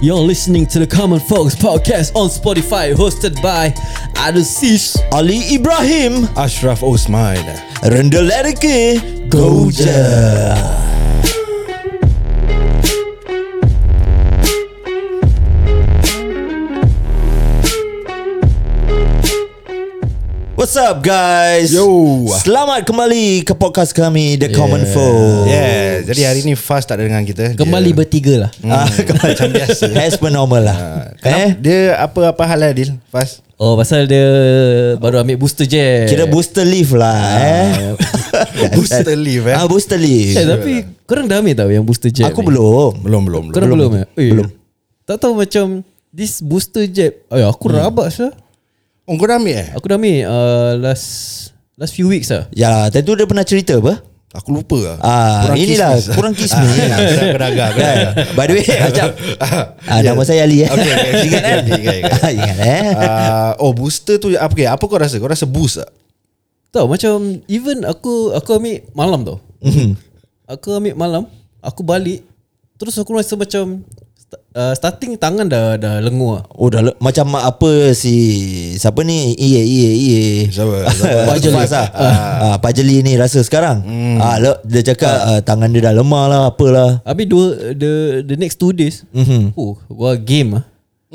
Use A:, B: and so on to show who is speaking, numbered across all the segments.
A: You're listening to the Common Folks podcast on Spotify, hosted by Adusis
B: Ali Ibrahim
C: Ashraf Osman
B: Renda Lerke Go je What's up guys
C: Yo.
B: Selamat kembali ke podcast kami The yeah. Common Folk
C: Yeah Jadi hari ni Fast tak ada dengan kita
A: Kembali
C: dia, Eh?
A: bertiga lah
B: Ah, Macam biasa As per normal lah
C: Kenapa?
B: Eh
C: Dia apa-apa hal lah, Adil Fast
A: Oh pasal dia baru ambil booster je
B: Kira booster leaf lah eh.
C: Ah, Booster leave eh
B: Ah
A: Eh
B: booster leaf.
A: tapi korang dah ambil tak yang booster jab
B: Aku
A: ni?
B: belum.
C: Belum belum
A: Korang
C: belum
A: belum Belum, eh? belum. Tak tahu macam This booster jab Ayah aku hmm. rabak sah
C: Oh kau dah ambil eh
A: Aku dah ambil uh, Last Last few weeks lah
B: Ya, tadi tu dia pernah cerita apa?
C: Aku lupa lah
B: Ah,
C: Kurang
B: inilah
C: kismis.
B: kurang kismis.
C: Ah, Saya kena agak kena
B: Kan?
C: agak.
B: By the way, macam ah, nama saya Ali eh.
C: ya. Okay, okay, okay.
B: ingat kan?
C: Ingat, ingat, ingat.
B: Ingat eh.
C: Ah, Oh booster tu apa, okay, apa kau rasa Kau rasa boost tak
A: Tahu macam Even aku Aku ambil malam tau Aku ambil malam Aku balik Terus aku rasa macam sta- uh, Starting tangan dah dah lengur lah.
B: Oh dah le- macam apa si siapa ni? Iye iye iye.
C: Siapa? lah.
B: Pajeli ah. ah, Pajeli ni rasa sekarang.
C: Hmm.
B: Ah, le- dia cakap ah, tangan dia dah lemah lah apalah.
A: Habis dua The the next two days mm-hmm. Oh Gua game lah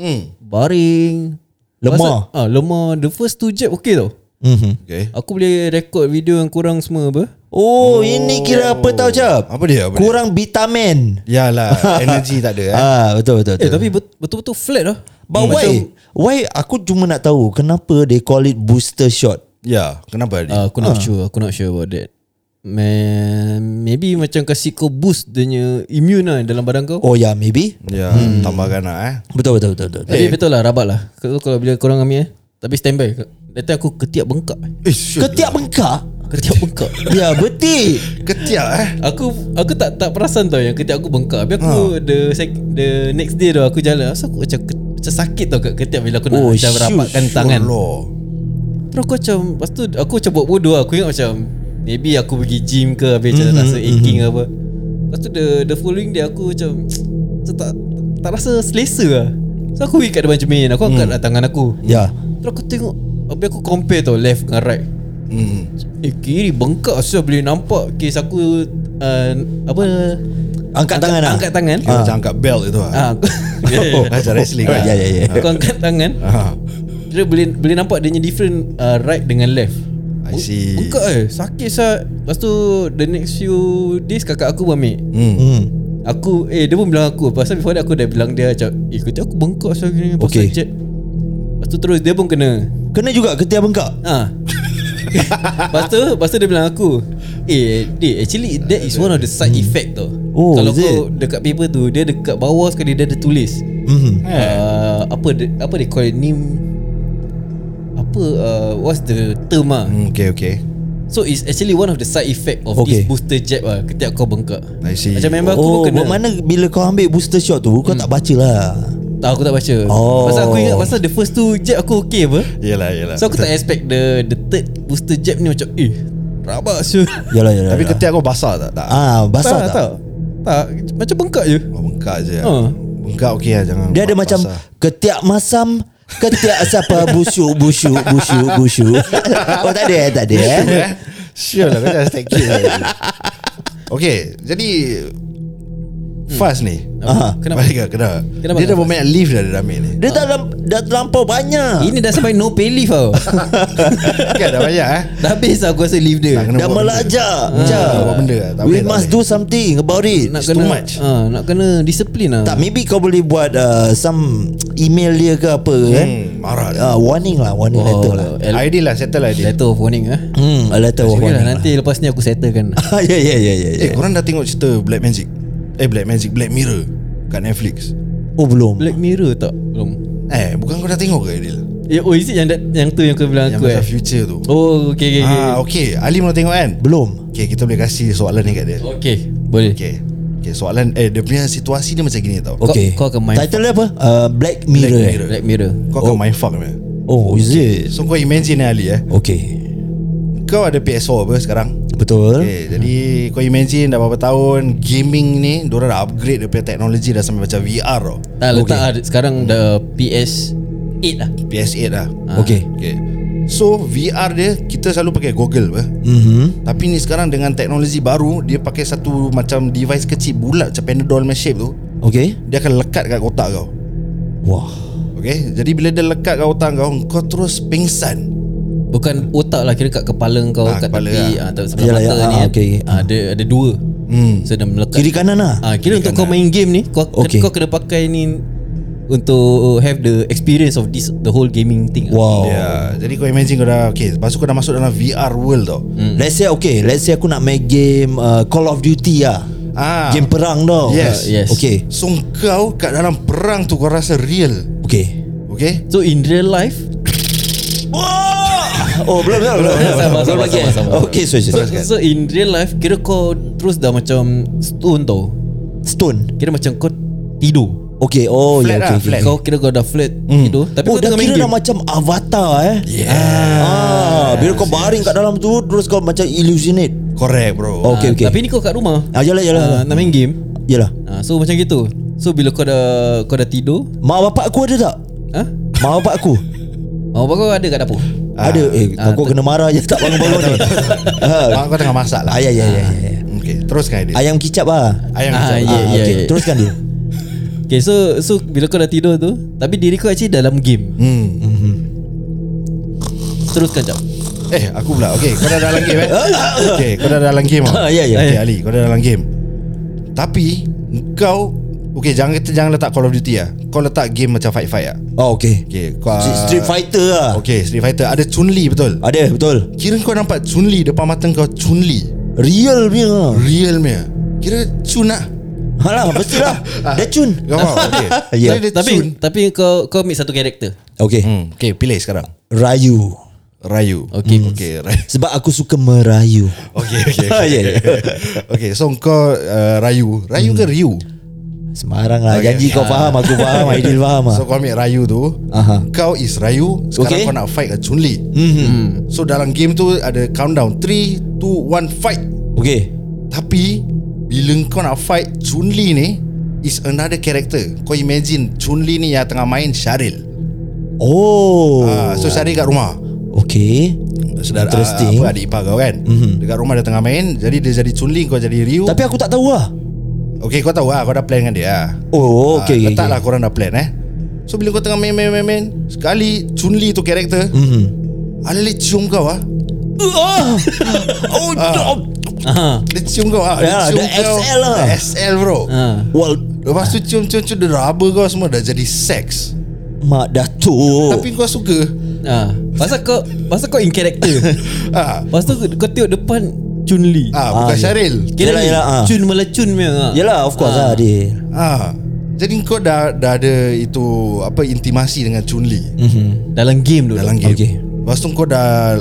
C: Hmm
A: Baring
B: Lemah.
A: Pasal- ah, Lemah The first two jab okay tau
B: Mhm.
C: Okay
A: Aku boleh rekod video yang kurang semua apa
B: Oh, ini kira apa tau cap?
C: Apa dia? Apa dia?
B: Kurang vitamin.
C: Yalah Energy tak ada eh
B: Ah, betul betul.
A: Eh
B: betul.
A: tapi bet- betul-betul flat lah
B: But why? Why aku cuma nak tahu kenapa they call it booster shot.
C: Ya Kenapa Adil
B: Ah.
A: Uh, aku not sure Aku not sure about that Man, Maybe macam kasi kau boost Dia punya immune lah Dalam badan kau
B: Oh ya, yeah, maybe.
C: Ya Tambahkan lah eh
B: Betul betul betul betul.
A: Tapi betul lah Rabat lah Kalau, kalau bila korang ambil eh Tapi standby Nanti aku ketiak bengkak
C: Eh sure
B: Ketiak bengkak.
A: Ketiak bengkak
B: Ya, betik.
C: Ketiak eh
A: Aku aku tak tak perasan tau Yang ketiak aku bengkak Habis
B: Ah.
A: aku the, sec- the next day tu Aku jalan Asal aku macam, ke- macam sakit tau kat ketiak Bila aku nak
B: Oh,
A: macam
B: shoot,
A: rapatkan tangan
C: Loh.
A: Terus aku macam Lepas tu aku macam buat bodoh lah. Aku ingat macam Maybe aku pergi gym ke Habis macam
B: Mhm,
A: rasa aching ke apa Lepas tu the, the following dia aku macam Macam tak Tak rasa selesa lah So aku pergi kat depan cermin Aku angkat lah tangan aku
B: Hmm. Ya.
A: Terus aku tengok Habis aku compare tau Left dengan right
C: Hmm.
A: Eh kiri bengkak Asal boleh nampak Kes aku uh, Apa
B: Angkat tangan lah.
A: Angkat tangan
C: Kira macam angkat belt itu lah.
A: Ah, aku, Ya, ya, ya.
C: Macam wrestling lah.
B: Ya, ya, ya.
A: aku angkat tangan
C: Ah,
A: Kira boleh boleh nampak Dia punya different uh, Right dengan left
C: I see.
A: Bengkak eh Sakit sah Lepas tu The next few days Kakak aku pun ambil
C: Hmm.
B: Hmm.
A: Aku Eh dia pun bilang aku Pasal before that aku dah bilang dia Macam Eh kata aku bengkak sah kena Pasal
B: Okay.
A: jet Lepas tu terus dia pun kena
B: Kena juga ketiak bengkak.
A: Ha Lepas tu Lepas tu dia bilang aku Eh dia actually That is one of the side effect tau
B: Oh,
A: Kalau
B: is
A: kau dekat paper tu Dia dekat bawah sekali Dia ada tulis
B: Mhm.
A: uh, Apa the- Apa they call it Name Apa uh, What's the term ah
C: Hmm, Okay, okay.
A: So it's actually one of the side effect of okay.
B: Okay.
A: this booster jab lah ketika kau bengkak.
C: I see.
A: Macam member aku
B: Oh,
A: pun kena.
B: bermakna bila kau ambil booster shot tu
C: Hmm.
B: kau tak baca lah.
A: Tak aku tak baca.
B: Oh.
A: Pasal aku ingat pasal the first two jab aku okay apa.
C: Yelah, yelah.
A: So aku tak expect the the third booster jab ni macam eh rabak sure.
B: Yalah yalah.
C: Tapi
B: yalah.
C: ketiak kau basah tak? Tak.
B: ah basah tak?
A: tak. Tak macam bengkak je.
C: Oh, bengkak je.
A: Ah.
C: Bengkak okey lah jangan.
B: Dia ada macam
C: basah.
B: ketiak masam Ketiak siapa busuk busuk busuk busuk. Oh tak ada eh tak ada eh.
C: Eh? Sure lah, kau jangan step kid lah. Okay, jadi Fast ni.
A: Apa? Hmm. Kenapa?
C: Balik ke, kenapa?
A: Kenapa
C: Dia
A: tak
C: dah bermain lift dah dalam ni.
B: Dia tak lam- dah terlampau banyak.
A: Ini dah sampai no pay leave tau.
C: Kan dah banyak eh.
A: dah habis lah aku rasa leave dia.
C: Tak kena
B: Dah
C: buat benda. Hmm,
B: melajak.
C: Kena
B: Jap.
C: buat benda lah, tak
B: We
C: boleh, tak
B: must
C: boleh.
B: do something about it.
A: Nak
C: It's too
A: kena
C: much.
A: ah, nak kena disiplin lah.
B: Tak maybe kau boleh buat uh, some email dia ke apa kan.
C: Hmm, Marah dah.
B: Uh, warning lah, warning
A: oh,
B: letter lah.
A: L-
C: Ideal lah, settle lah dia.
A: letter of warning ah.
B: Hmm, a letter of
A: Okay lah
B: warning.
A: nanti lepas ni aku settlekan.
B: Ah, ya ya ya ya. ya.
C: Eh, korang dah tengok cerita Black Magic? Eh, Black Magic, Black Mirror kat Netflix.
B: Oh belum.
A: Black Mirror tak? Belum.
C: Eh, bukan kau dah tengok ke Adil?
A: Ya, oh is it yang, that, yang tu yang kau bilang aku
C: Yang
A: eh?
C: pasal future tu.
A: Oh, okay, okay, okay.
C: Ah, okey. Ali mau tengok kan?
B: Belum.
C: Okey, kita boleh kasi soalan ni kat dia.
A: okay, boleh. Okay.
C: Okey. Okey, soalan eh dia punya situasi dia macam gini tau.
A: Kau-
B: Okay.
A: kau akan main-
B: Title dia apa? Uh, Black Mirror. Black Mirror.
C: Mirror.
A: Black Mirror.
C: Kau akan main fuck
B: Eh?
C: man.
B: Oh, is it?
C: So kau imagine ni Ali eh.
B: Okay.
C: Kau ada PS4 apa sekarang?
B: Betul
C: Okay, jadi kau imagine dah berapa tahun gaming ni diorang dah upgrade dia punya teknologi dah sampai macam VR tau.
A: Tak letak okay. lah, Sekarang dah PS 8 lah
C: PS8 lah.
B: Okay
C: Okay. So VR dia kita selalu pakai goggle apa.
B: mm-hmm.
C: Tapi ni sekarang dengan teknologi baru dia pakai satu macam device kecil bulat macam Panadol macam shape tu.
B: Okay
C: Dia akan lekat kat otak kau.
B: Wah
C: Okay Jadi bila dia lekat kat otak kau Kau terus pingsan
A: Bukan otak lah Kira kat kepala kau
C: Ah,
A: Kat
C: kepala
A: tepi
C: lah.
A: ah, tak, Sebelah
B: Yalah,
A: mata
B: ya,
A: ni
B: ah,
A: kan.
B: okay.
A: Ah, Ada ada dua
C: Hmm
A: So dah melekat
B: Kiri kanan lah
A: Ah, Kira untuk kau main game ni Kau, okay.
B: Okay.
A: kau kena pakai ni Untuk have the experience of this The whole gaming thing lah.
B: Wow
C: yeah. Ya, Jadi kau imagine kau dah Okay Lepas tu kau dah masuk dalam VR world tau
B: Let's say okay Let's say aku nak main game uh, Call of Duty lah
C: Ah.
B: Game perang tau Ah,
C: Yes.
A: Yes.
B: Okay
C: So kau kat dalam perang tu kau rasa real
B: Okay
C: Okay
A: So in real life
B: Oh belum belum belum
A: Sabar,
B: belum
A: sabar,
B: lagi, eh?
A: sabar, sabar.
B: Okay so, so,
A: so,
C: kan?
A: so in real life Kira kau terus dah macam Stone tau
B: Stone
A: Kira macam kau tidur
B: Okay oh
C: Flat
B: yeah, okay,
C: lah,
B: okay.
C: flat.
A: Kau kira kau dah flat mm. tidur Tapi kau
B: oh dah
A: tengah main
B: kira dah
A: game
B: macam avatar eh yeah. ah, Bila kau baring kat dalam tu Terus kau macam illusionate
C: Correct bro
B: Oh.
A: Ah,
B: Okay, okay.
A: Tapi ni kau kat rumah
B: Ah, yalah, yalah,
A: Ah,
B: yalah.
A: Nak main game
B: Yalah
A: ah, So macam gitu So bila kau dah Kau dah tidur
B: Mak bapak aku ada tak?
A: ah,
B: Mak bapak aku
A: Mau apa kau ada kat dapur
B: Ada Eh
A: Ah,
B: kau
A: tu-
B: kena marah je Tak bangun-bangun ni
C: Mak kau tengah masak lah
B: Ah, ya, ya, ya, ya.
C: Okay teruskan dia
B: Ayam kicap lah
C: Ayam
A: Ah,
C: kicap
A: ya,
B: Ah,
A: ya,
B: okay.
A: ya.
B: Teruskan dia
A: Okay so So bila kau dah tidur tu Tapi diri kau actually dalam game
C: Hmm.
A: Mhm. Teruskan jap
C: Eh aku pula Okay kau dah dalam game eh Okay kau dah dalam game ah.
B: Ah, ya, ya.
C: Okay Ali kau dah dalam game Tapi Kau Okay jangan kita jangan letak Call of Duty lah Kau letak game macam fight-fight lah
B: Oh okay
C: Okay kau
B: Street Fighter Ah. lah
C: Okay Street Fighter Ada Chun-Li betul
B: Ada betul
C: Kira kau nampak Chun-Li Depan mata kau Chun-Li
B: Real punya
C: Real punya Kira Chun lah
B: Alah mesti lah Dah cun
C: Kau faham okay.
B: Ya.
C: Kira dia
A: Tapi
C: Chun
A: Tapi kau Kau ambil satu karakter
B: Okay
C: hmm, Okay pilih sekarang
B: Rayu
C: Rayu Hmm.
A: Okay.
C: Okay Rayu
B: Sebab aku suka merayu
C: Okay okay,
B: Ah,
C: okay.
B: ya, ya. Hmm.
C: okay so kau uh, Rayu Rayu ke Ryu
B: Semarang lah
C: Okay.
B: Janji kau faham Aku faham Aidil faham lah
C: So kau ambil Rayu tu
B: Aha.
C: Kau is Rayu Sekarang
B: Okay.
C: kau nak fight dengan Chun-Li So dalam game tu Ada countdown 3 2 1 fight
B: Okay
C: Tapi Bila kau nak fight Chun-Li ni Is another character Kau imagine Chun-Li ni yang tengah main Syaril
B: Oh
C: Ah, So Syaril kat rumah
B: Okay
C: Saudara
B: Interesting. Mhm.
C: ah, apa, Adik ipar kau kan mm-hmm. Dekat rumah dia tengah main Jadi dia jadi Chun-Li Kau jadi Ryu
B: Tapi aku tak tahu lah
C: Okay kau tahu lah Kau dah plan dengan dia lah
B: Oh
C: Ah,
B: okay
C: Letaklah korang dah plan eh So bila kau tengah main main main, main Sekali Chun-Li tu karakter
B: mm-hmm.
C: Alih-alih cium kau ah.
B: Oh Oh ah.
A: Aha.
C: Dia cium kau ah.
B: Ya,
C: cium
B: dia SL lah.
C: Dia SL bro
A: Ah.
B: Well
C: Lepas tu cium-cium cium Dia raba kau semua Dah jadi seks
B: Mak Datuk
C: Tapi kau suka
A: Ah. Pasal kau Pasal kau in character
C: ah.
A: Lepas tu kau tengok depan Chun Li
C: ah, Bukan
B: Ah, ya.
C: Syaril
A: Kira
B: Yelah,
A: ni
B: yelah, ah.
A: Chun malah Chun punya ah.
B: Yelah of course lah Aidil
C: ah. Jadi kau dah, dah ada itu Apa intimasi dengan Chun-Li
A: Mhm. Dalam game tu
C: Dalam game
B: Okay.
C: Lepas tu kau dah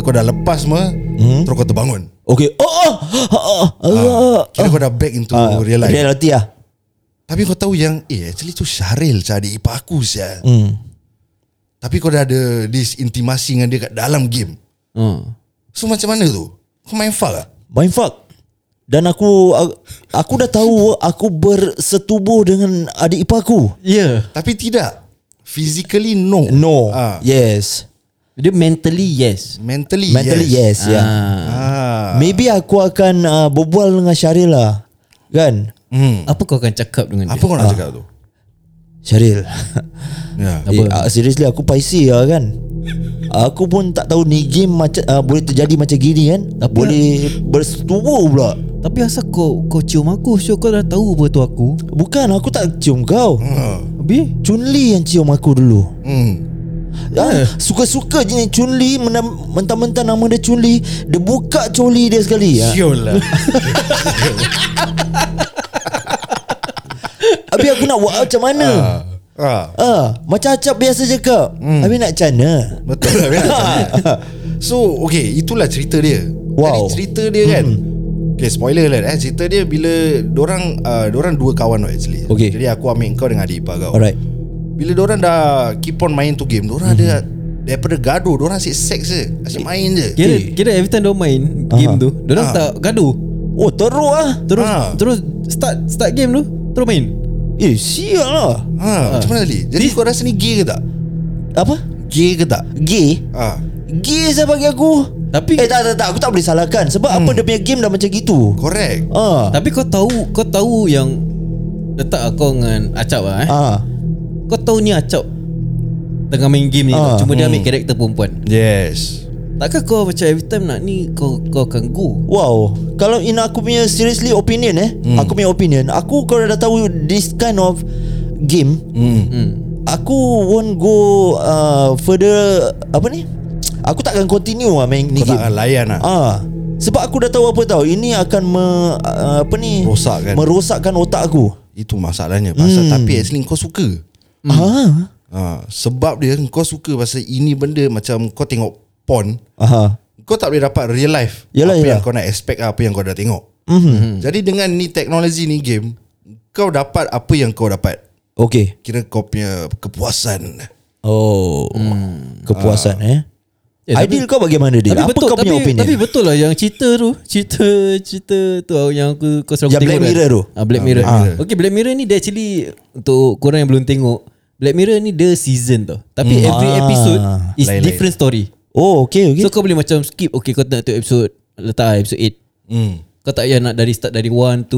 C: Kau dah lepas semua hmm? Terus kau terbangun
B: Okay Oh oh Oh oh
C: ah. Kira kau dah back into
B: Ah,
C: real life
B: Reality lah
C: Tapi kau tahu yang Eh actually tu Syaril Syah adik ipar aku sial
B: hmm.
C: Tapi kau dah ada This intimasi dengan dia Kat dalam game
A: Ah.
C: So macam mana tu Kau main fuck lah
B: Mind fuck Dan aku Aku dah tahu Aku bersetubuh dengan Adik ipar aku
A: Yeah
C: Tapi tidak Physically no
B: No
C: ah.
B: Yes
A: Dia mentally yes
C: Mentally
B: Mentally yes, ya. yes yeah.
A: ah.
C: Ah.
B: Maybe aku akan uh, Berbual dengan Syaril lah Kan
C: Hmm.
A: Apa kau akan cakap dengan
C: Apa
A: dia?
C: kau nak cakap tu
B: Syaril
C: Ya
B: eh, uh, Seriously aku Paisi lah kan Aku pun tak tahu ni game macam uh, Boleh terjadi macam gini kan Boleh bersetubuh pula
A: Tapi asal kau kau cium aku Sure kau dah tahu apa tu aku
B: Bukan aku tak cium kau
C: Ah.
A: Habis
B: Chun Li yang cium aku dulu
C: Hmm.
B: Ah, Suka-suka je ni Chun Li menam- Mentah-mentah nama dia Chun Li Dia buka coli dia sekali ah.
C: Siul lah
B: Habis aku nak buat macam mana
C: ah.
B: ah, Macam acap biasa je kau Habis nak macam mana
C: Betul lah kan? So okay Itulah cerita dia
B: Wow.
C: Jadi cerita dia kan Okay spoiler lah eh Cerita dia bila Diorang uh, Diorang dua kawan tau actually
B: Okay.
C: Jadi aku ambil kau dengan adik ipar kau
B: Alright
C: Bila diorang dah Keep on main tu game Diorang ada Daripada gaduh Diorang asyik seks je Asyik main je
A: Kira kira every time dia main game
B: Aha.
A: tu, dia orang
C: Ah.
A: tak gaduh.
B: Oh teruk ah
A: Terus
C: Ah.
A: terus start start game tu, terus main.
B: Eh siap lah
C: ha, Macam mana Ali Jadi kau rasa ni gay ke tak
B: Apa?
C: Gay ke tak
B: Gay?
C: ha.
B: Gay saya bagi aku
A: Tapi-
B: Eh tak tak tak Aku tak boleh salahkan Sebab apa dia punya game dah macam gitu
C: Correct
B: Ah,
A: Tapi kau tahu kau tahu yang letak kau dengan Acap ah eh.
B: ah.
A: Kau tahu ni Acap tengah main game ni
B: Ah.
A: tau. Cuma dia ambil karakter perempuan.
C: Yes
A: Takkan kau macam every time nak ni kau kau akan go.
B: Wow Kalau in aku punya Seriously opinion eh Aku punya opinion Aku kalau dah tahu This kind of Game
C: hmm.
A: Hmm.
B: Aku won't go uh, Further Apa ni Aku takkan continue lah Main ni
C: Kau tak
B: game
C: akan layan lah
B: Ah, Sebab aku dah tahu apa tau Ini akan me, uh, Apa ni
C: Rosakkan.
B: Merosakkan otak aku
C: Itu masalahnya Pasal
B: Hmm.
C: tapi actually kau suka
B: hmm. ah.
C: ha. Sebab dia kau suka Pasal ini benda Macam kau tengok porn
B: Aha.
C: Kau tak boleh dapat real life
B: Yalah,
C: Apa
B: yalah.
C: yang kau nak expect Apa yang kau dah tengok Mm-hmm.
B: Mhm.
C: Jadi dengan ni teknologi ni game Kau dapat apa yang kau dapat
B: Okay
C: Kira kau punya kepuasan
B: Oh hmm. Kepuasan eh
A: Eh, tapi-
B: Ideal kau bagaimana dia? Apa kau
A: tapi,
B: punya opinion?
A: Tapi betul lah yang cerita tu, cerita cerita tu lah yang aku kau selalu
B: Yang
A: tengok
B: Black Mirror tu?
A: Ah Black
C: Ah,
A: Mirror.
C: Black Mirror.
A: Okay Black Mirror ni dia actually untuk korang yang belum tengok, Black Mirror ni dia season tau. Tapi
B: Hmm.
A: every
B: Ah.
A: episode is
C: Lain-lain.
A: different story.
B: oh okay okay
A: So kau boleh macam skip Okay kau nak tu episode Letak lah episode 8
C: hmm.
A: Kau tak payah nak dari start Dari 1,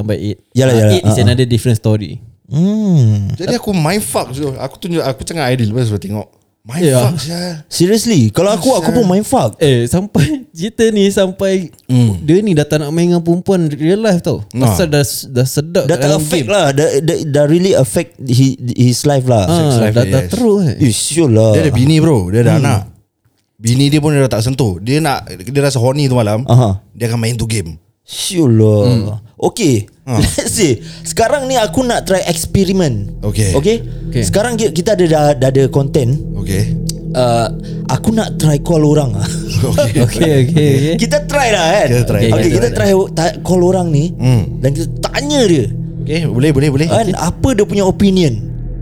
A: 2, 3 Sampai 8
B: Yalah, yalah.
A: 8 is
B: Ah, ah.
A: another different story
B: hmm.
C: Jadi aku mind fuck je Aku tunjuk Aku cakap ideal Lepas tu tengok Mind
A: Ya.
C: yeah. fuck je
B: Seriously Kalau aku Aku pun main fuck
A: Eh sampai Cerita ni sampai
B: Hmm.
A: Dia ni dah tak nak main dengan perempuan Real life tau
C: Nah.
A: Pasal dah, dah sedap
B: Ah. Dah
A: kat
B: tak
A: dalam
B: affect
A: game.
B: lah Dah, dah, dah really affect his, his life lah
A: Ah,
C: Sex life
A: Dah,
C: dia,
A: dah
C: yes.
A: teruk eh.
B: Eh sure lah
C: Dia ada bini bro Dia ada anak Ah. Hmm. Bini dia pun dia dah tak sentuh Dia nak Dia rasa horny tu malam
B: Aha.
C: Dia akan main tu game
B: Sure lah
A: Hmm.
B: Okay
A: Ah.
B: Let's see Sekarang ni aku nak try experiment
C: Okay.
B: Okay,
A: Okay.
B: Sekarang kita, kita ada dah, dah ada content
C: Okay
A: Ah.
B: uh, Aku nak try call orang lah
C: Okay,
A: Okay okay okay
B: Kita try lah kan
C: Kita try,
B: Okay,
A: kita
B: kita try ta- call orang ni
C: Hmm. Eh,
B: Dan kita tanya dia
C: okay. Boleh boleh boleh
B: Kan apa dia punya opinion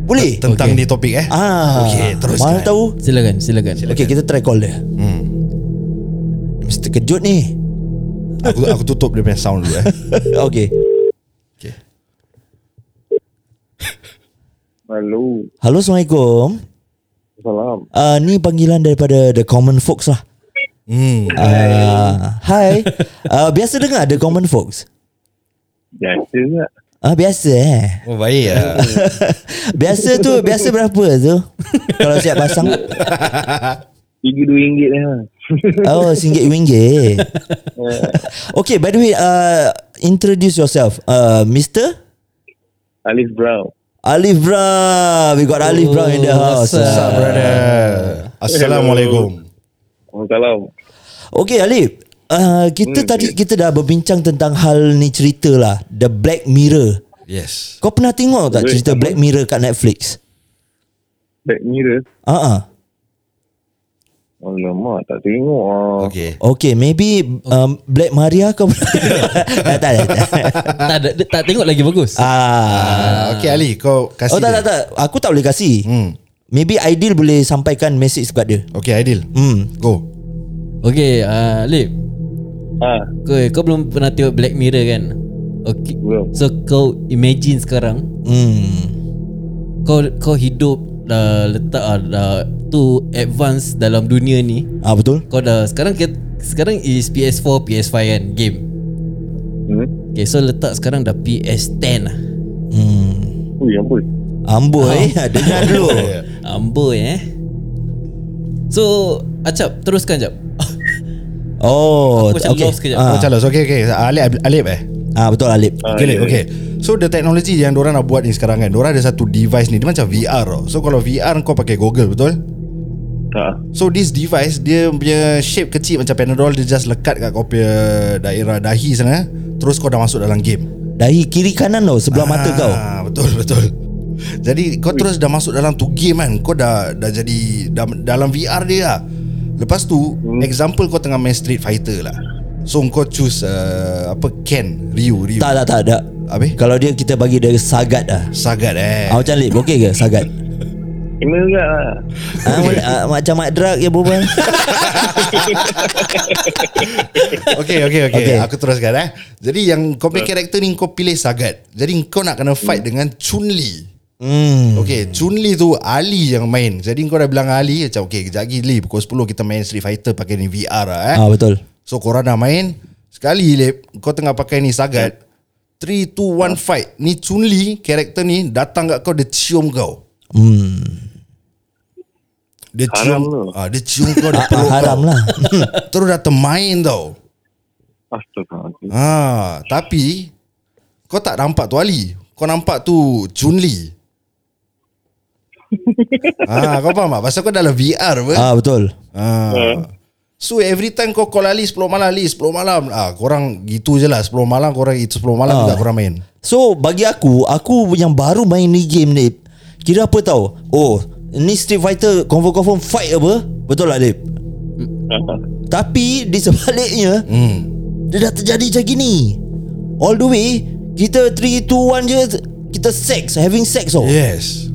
B: Boleh?
A: Okay.
C: Tentang ni topik eh
B: Ah, Mana
C: Okay teruskan
B: tahu
A: Silakan silakan
B: Okay kita try call dia
C: hmm.
B: Dia Mesti terkejut ni
C: aku, aku tutup dia punya sound dulu eh
B: Okay
C: Okay
D: Hello.
B: Halo Assalamualaikum
D: Salam.
B: uh, Ni panggilan daripada The Common Folks lah
C: hmm.
B: uh, Hi uh, Biasa dengar The Common Folks
D: Biasa lah. tak?
B: Ah Biasa eh
C: Oh baik lah
B: Biasa tu Biasa berapa tu Kalau siap pasang
D: Tiga dua ringgit ni lah.
B: Oh singgit ringgit Okay by the way uh, Introduce yourself uh, Mr
D: Alif Brown.
B: Alif Bra We got Alif Bra in the house
A: Oh, what's up,
B: Ah.
C: brother. Eh. Assalamualaikum.
D: Waalaikumsalam.
B: Okay Alif uh, Kita
D: Hmm.
B: tadi Kita dah berbincang Tentang hal ni cerita lah The Black Mirror
C: Yes.
B: Kau pernah tengok tak
D: Boleh,
B: Cerita
D: apa?
B: Black Mirror kat Netflix
D: Black Mirror.
B: Ah uh-uh.
D: Alamak, tak tengok lah.
A: Eh.
C: Okay.
B: Okay maybe um, Black Maria kau pernah Tak tak tak, tak.
A: tak, ada- tak tengok lagi bagus
B: Ah.
C: Uh, okay Ali, kau kasih.
B: Oh tak tak tak Aku tak boleh kasih
C: Hmm.
B: Maybe Aidil boleh sampaikan Message kat dia
C: Okay Aidil.
B: Hmm
C: Go.
A: Okay uh, Lip
D: Ha,
A: kau, kau belum pernah tengok Black Mirror kan Okay
D: belum.
A: So kau imagine sekarang
B: Hmm
A: kau kau hidup dah letak ah, dah tu advance dalam dunia ni
B: Ah betul
A: kau dah sekarang kita, sekarang is PS4 PS5 kan game
D: Hmm?
A: okay so letak sekarang dah PS10 lah
B: Hmm
D: Ui, apa?
B: Amboi eh Dengar dulu
A: amboi eh so acap teruskan jap
B: Oh
A: Aku macam
B: okay.
A: lost kejap.
B: ah.
C: Macam lah. So, okay, okay. Alip, Alip eh.
B: ah betul Alif
D: Ah,
C: Okay, Alip,
D: ya,
C: okay. So, the technology yang diorang nak buat ni sekarang kan, diorang ada satu device ni. Dia macam VR tau. So, kalau VR kau pakai Google, betul?
D: Ha.
C: So, this device, dia punya shape kecil macam Panadol. Dia just lekat kat kau punya daerah dahi sana. eh. Terus kau dah masuk dalam game.
B: Dahi kiri kanan tau Sebelah mata
C: Ah,
B: kau
C: Betul, betul. Jadi kau terus dah masuk dalam tu game kan Kau dah dah jadi dah, dalam VR dia lah Lepas tu Example kau tengah main Street Fighter lah So kau choose uh, Apa Ken Ryu Ryu
B: Tak tak tak tak
C: Habis
B: Kalau dia kita bagi dia sagat lah
C: Sagat eh
B: ah, Macam Lip okey ke sagat
D: Kena juga lah
B: ah, mana- ah, Macam mak drug ya berbual
C: Okay okay okay,
B: Okay.
C: okay. Aku teruskan eh Jadi yang kau punya karakter ni Kau pilih Sagat Jadi kau nak kena fight dengan Chun-Li
B: hmm.
C: Okay Chun-Li tu Ali yang main Jadi kau dah bilang Ali Macam okay kejap lagi Li Pukul 10 kita main Street Fighter Pakai ni VR lah eh
B: ah, Betul
C: So korang dah main Sekali Lip Kau tengah pakai ni Sagat 3, 2, 1 fight Ni Chun-Li Karakter ni Datang kat kau Dia cium kau
B: hmm.
C: Dia
D: Haram tu.
C: cium ah, Dia cium kau Dia
B: ah, ah,
C: peluk
B: Haram
C: kau
B: lah
C: Terus dah termain tau
D: Astagfirullahaladzim
C: Ah, tapi kau tak nampak tu Ali. Kau nampak tu Chun Li. ah, kau faham tak? Pasal kau dalam VR apa?
B: ah, Betul
C: Ah. So every time kau call Ali 10 malam Ali 10 malam ah korang gitu je lah 10 malam korang itu 10 malam
B: Ah.
C: juga korang main.
B: So bagi aku Aku yang baru main ni game ni Kira apa tau Oh Ni Street Fighter Confirm-confirm fight apa Betul lah Lip
D: Ha,
B: Tapi di sebaliknya
C: Hmm.
B: Dia dah terjadi macam gini All the way Kita 3, 2, 1 je Kita sex Having sex oh. tau
C: Yes.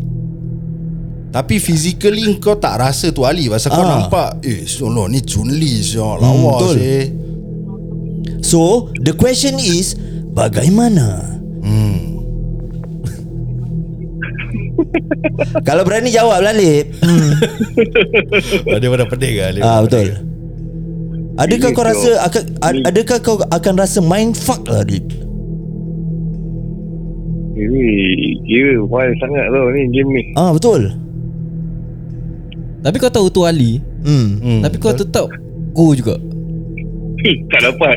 C: Tapi physically kau tak rasa tu Ali pasal kau
B: Ah. Hmm,
C: nampak eh solo ni Chun Li sial lawa
B: betul.
C: sih.
B: So The question is Bagaimana Kalau berani jawab lah Lip
C: Dia pada pedih ke Ali.
B: Ah betul. Adakah
D: Ini
B: kau
D: kau-
B: rasa akan ad- adakah kau akan rasa mind fuck lah duit?
D: Ini Kira wild sangat tau Ni game ni
B: Ah betul.
A: Tapi kau tahu tu Ali
B: Hmm.
C: Hmm.
A: Tapi kau tetap Go juga
D: Eh, Tak dapat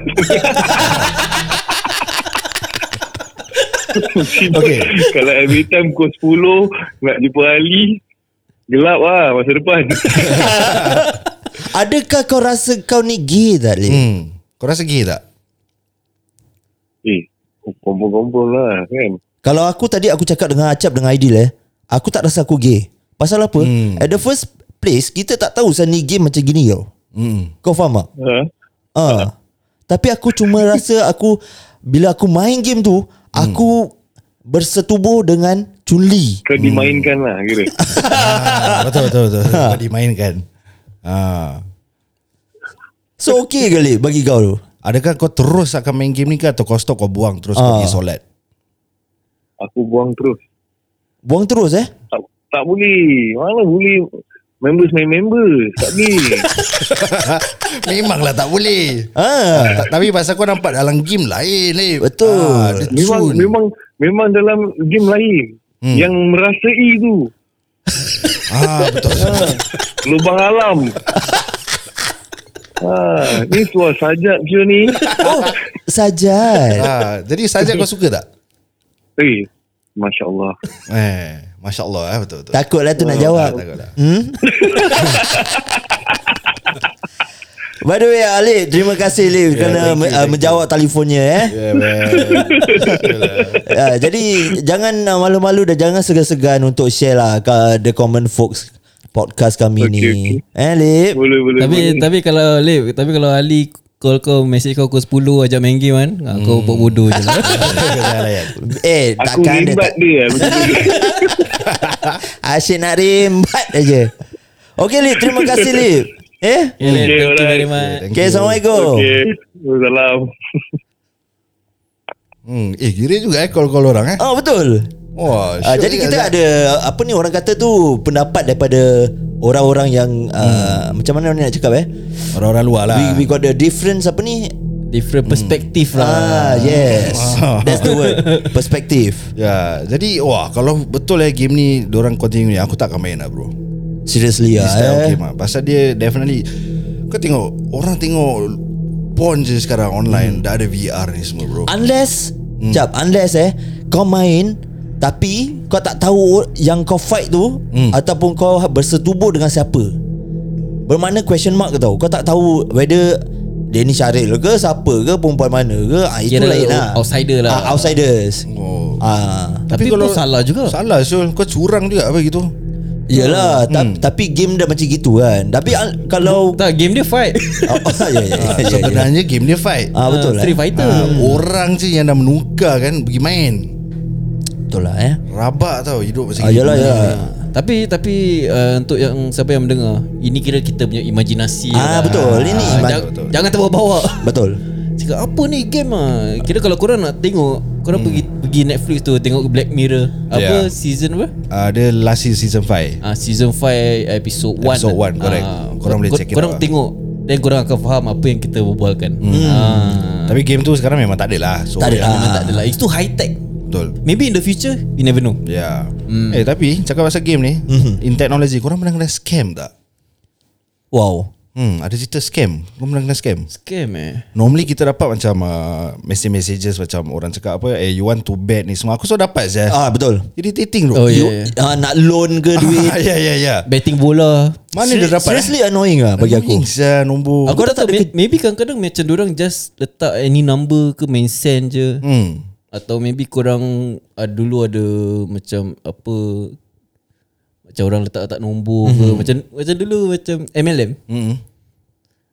C: Okay.
D: Kalau every time Kau 10 Nak jumpa Ali Gelap lah Masa depan
B: Adakah kau rasa kau ni gay tak Lip?
C: Hmm. Kau rasa gay tak?
D: Eh Kumpul-kumpul lah kan
B: Kalau aku tadi aku cakap dengan Acap dengan Aidil eh, aku tak rasa aku gay. Pasal apa?
C: Hmm.
B: At the first place kita tak tahu saya ni gay macam gini tau.
C: Hmm.
B: Kau faham tak?
D: ha?
B: Ah. Tapi aku cuma rasa aku bila aku main game tu, aku bersetubuh dengan Chun Li.
D: Kau dimainkan lah Kira
C: Ah, betul betul betul. Kau dimainkan. Ha.
B: So okay ke Lip bagi kau tu?
C: Adakah kau terus akan main game ni ke atau kau stop kau buang terus
B: Ah.
C: kau pergi solat?
D: Aku buang terus
B: Buang terus eh?
D: tak, tak boleh Mana boleh Members main member Tak boleh
C: Memanglah tak boleh.
B: Ah.
C: Ta- Tapi pasal kau nampak dalam game lain ni.
B: Betul.
C: dia
D: Memang
C: cun.
D: memang memang dalam game lain
C: Hmm.
D: hmm. yang merasai tu
C: Ah, betul.
D: lubang alam. ha, ni tuas sajat je ni.
B: Oh, sajat.
C: ah, jadi saja kau suka tak?
D: Eh, Masya Allah.
C: Eh, masya-Allah eh betul betul.
B: Takutlah tu nak jawab.
C: Takutlah.
B: Hmm? By the way Alif Terima kasih Alif yeah, Kerana
C: thank you,
B: me- uh,
C: thank you.
B: menjawab telefonnya eh
C: Yeah, man.
B: uh, Jadi Jangan uh, malu-malu Dan jangan segan-segan Untuk share lah ke The Common Folks Podcast kami
D: Okay,
B: ni Eh Alif
D: Boleh boleh.
A: Tapi
D: boleh.
A: tapi kalau Lip Tapi kalau Ali Call kau Message kau pukul 10 Ajak main game kan ah, Kau buat bodoh je lah
B: Eh
D: Aku
B: takkan dia
D: limbat
B: tak Ah,
D: dia macam tu.
B: Asyik nak rembat aja Okay Alif Terima kasih Alif Eh
A: Okay, Lip,
D: Okay,
A: thank you very
D: alright.
A: much.
C: Thank
B: Okay
C: you.
B: Assalamualaikum
D: Okey.
B: Oh.
D: Salam.
C: Hmm, eh kira juga eh call-call orang eh.
B: Oh betul Uh,
C: Wah, syok
B: jadi
C: juga,
B: kita
C: Zak.
B: ada apa ni orang kata tu pendapat daripada orang-orang yang uh, macam mana ni nak cakap eh?
C: Hmm. orang-orang luar lah.
B: We, we got the difference apa ni?
A: Different perspective lah
B: Ah yes. That's the word. Perspective.
C: Ya, jadi wah kalau betul eh game ni orang continue ni aku tak akan main lah bro.
B: Seriously
C: This time
B: ah. Eh.
C: game lah. Pasal dia definitely kau tengok orang tengok porn je sekarang
B: Hmm.
C: online dah ada VR ni semua
B: Ah,
C: bro.
B: Unless
A: Hmm.
B: Jap, unless eh kau main tapi kau tak tahu yang kau fight tu
C: Hmm.
B: ataupun kau bersetubuh dengan siapa. Bermakna question mark tau. Kau tak tahu whether dia ni Syaril ke siapa ke perempuan mana ke. Ah itu
A: Kira
B: lain lah.
A: outsider lah.
B: Ah, outsiders.
C: Oh.
B: Ah.
A: Tapi,
C: Tapi
A: pun
C: kalau-
A: salah juga
C: Salah Syul Kau curang juga apa gitu
A: Hmm.
B: Yalah, ta- tapi game dah macam gitu kan. Tapi al- kalau
A: Tak game dia fight
B: oh, oh, ya ya ya. ya, ya.
C: Sebenarnya game dia fight
B: Ah betul lah.
A: Street Fighter
C: Ah, Orang je yang dah menukar kan Pergi main
B: Betul lah eh.
C: Rabak tau hidup macam
B: Ah yalah
C: gitu.
B: ya.
A: Tapi tapi uh, untuk yang siapa yang mendengar, ini kira kita punya imajinasi. lah.
B: Ah, betul. Ini
A: Ah,
B: ima-
A: jang-
C: betul.
A: Jangan terbawa-bawa.
B: Betul
A: Cakap apa ni game ah. Kira kalau korang nak tengok, korang pergi pergi Netflix tu tengok Black Mirror. Apa
C: Yeah.
A: season apa?
C: Uh, dia last year season 5
A: Ah season 5 episode 1.
C: Episode one, correct. Korang boleh check it
A: Korang
C: out lah.
A: tengok dan korang akan faham apa yang kita berbualkan. Hmm. Ah.
C: Tapi game tu sekarang memang tak ada lah so,
B: Tak ada lah.
A: Memang tak adalah. Itu high tech.
C: Betul
A: Maybe in the future, you never know.
C: Ya yeah.
B: Hmm.
C: Eh tapi cakap pasal game ni
B: Mhm.
C: In technology korang pernah kena scam tak?
B: Wow
C: Hmm, ada cerita scam Korang pernah kena scam?
A: Scam eh.
C: Normally kita dapat macam uh, Message-messages macam orang cakap apa Eh you want to bet ni semua Aku selalu dapat je
B: Ah betul
C: Irritating tu
A: Oh,
B: you,
A: yeah,
B: ah, Nak loan ke duit
C: Ya ya ya
A: Betting bola.
C: Mana dia dapat eh?
B: Seriously annoying lah bagi aku
C: Annoying sia nombor
A: Aku
B: Kau dah
A: tak
B: tak
A: tahu,
B: ada
A: may- maybe kadang-kadang macam orang just letak any number ke main send je.
C: Hmm
A: Atau maybe korang uh, dulu ada macam apa macam orang letak-letak nombor mm-hmm. ke macam macam dulu macam MLM.
C: Mm-mm.